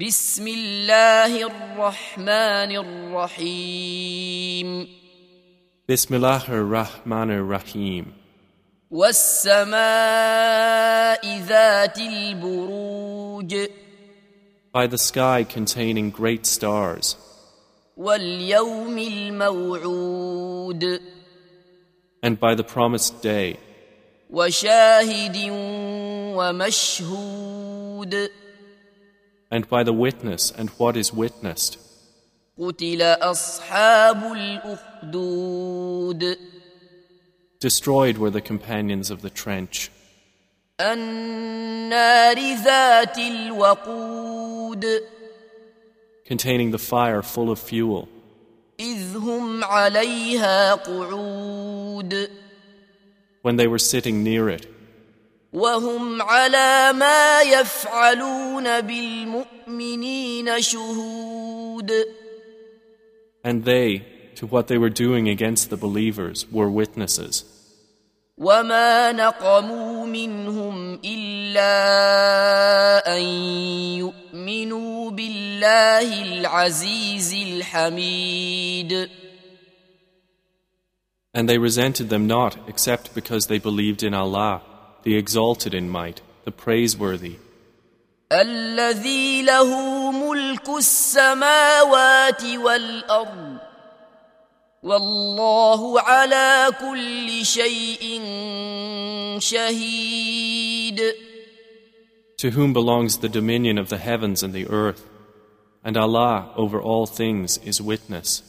بسم الله الرحمن الرحيم Bismillah ar-Rahman ar-Rahim. والسماء ذات البروج By the sky containing great stars, واليوم الموعود and by the promised day, وشاهد ومشهود and by the witness and what is witnessed. قتل أصحاب الأخدود Destroyed were the companions of the trench, النار ذات الوقود containing the fire full of fuel, إذ هم عليها قعود when they were sitting near it, وهم على ما يفعلون بالمؤمنين شهود and they, to what they were doing against the believers, were witnesses. وما نقموا منهم إلا أن يؤمنوا بالله العزيز الحميد And they resented them not, except because they believed in Allah, the exalted in might, the praiseworthy, الذي له ملك السماوات والأرض والله على كل شيء شهيد to whom belongs the dominion of the heavens and the earth. And Allah over all things is witness.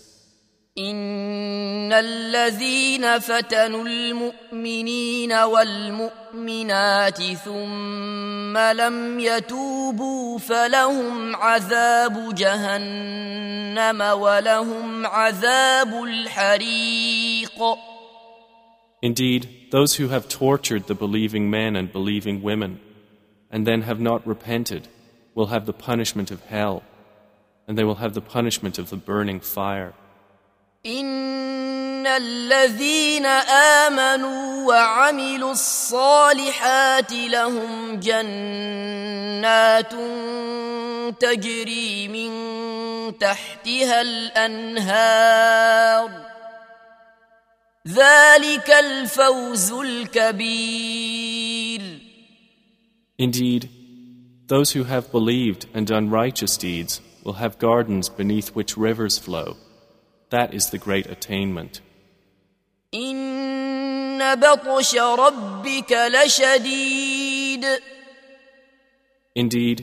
إن الذين فتنوا المؤمنين والمؤمنات ثم لم يتوبوا فلهم عذاب جهنم ولهم عذاب الحريق Indeed, those who have tortured the believing men and believing women, and then have not repented, will have the punishment of hell, and they will have the punishment of the burning fire. إن الذين آمنوا وعملوا الصالحات لهم جنات تجري من تحتها الأنهار ذلك الفوز الكبير Indeed, those who have believed and done righteous deeds will have gardens beneath which rivers flow. That is the great attainment. إن بطش ربك لشديد Indeed,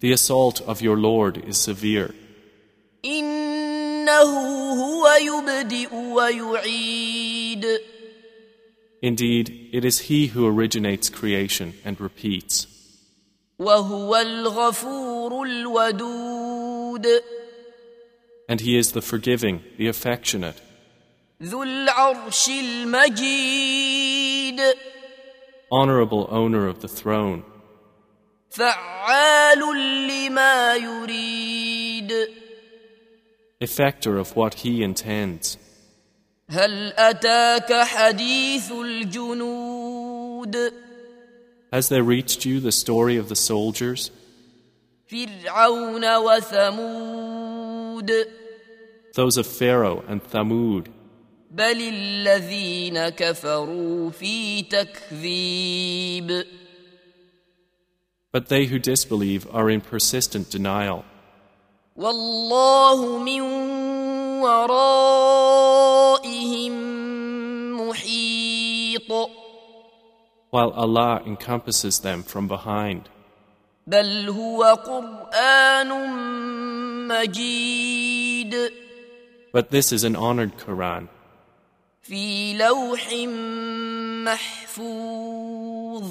the assault of your Lord is severe. إنه هو يبدئ ويعيد Indeed, it is He who originates creation and repeats, وهو الغفور الودود and He is the forgiving, the affectionate, ذو العرش المجيد honorable owner of the throne, فعال لما يريد effector of what He intends. هل أتاك حديث الجنود Has there reached you the story of the soldiers, فرعون وثمود those of Pharaoh and Thamud? بل الذين كفروا في تكذيب But they who disbelieve are in persistent denial, والله من ورائهم محيط while Allah encompasses them from behind. بل هو قرآن مجيد But this is an honored Quran, في لوح محفوظ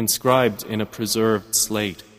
inscribed in a preserved slate,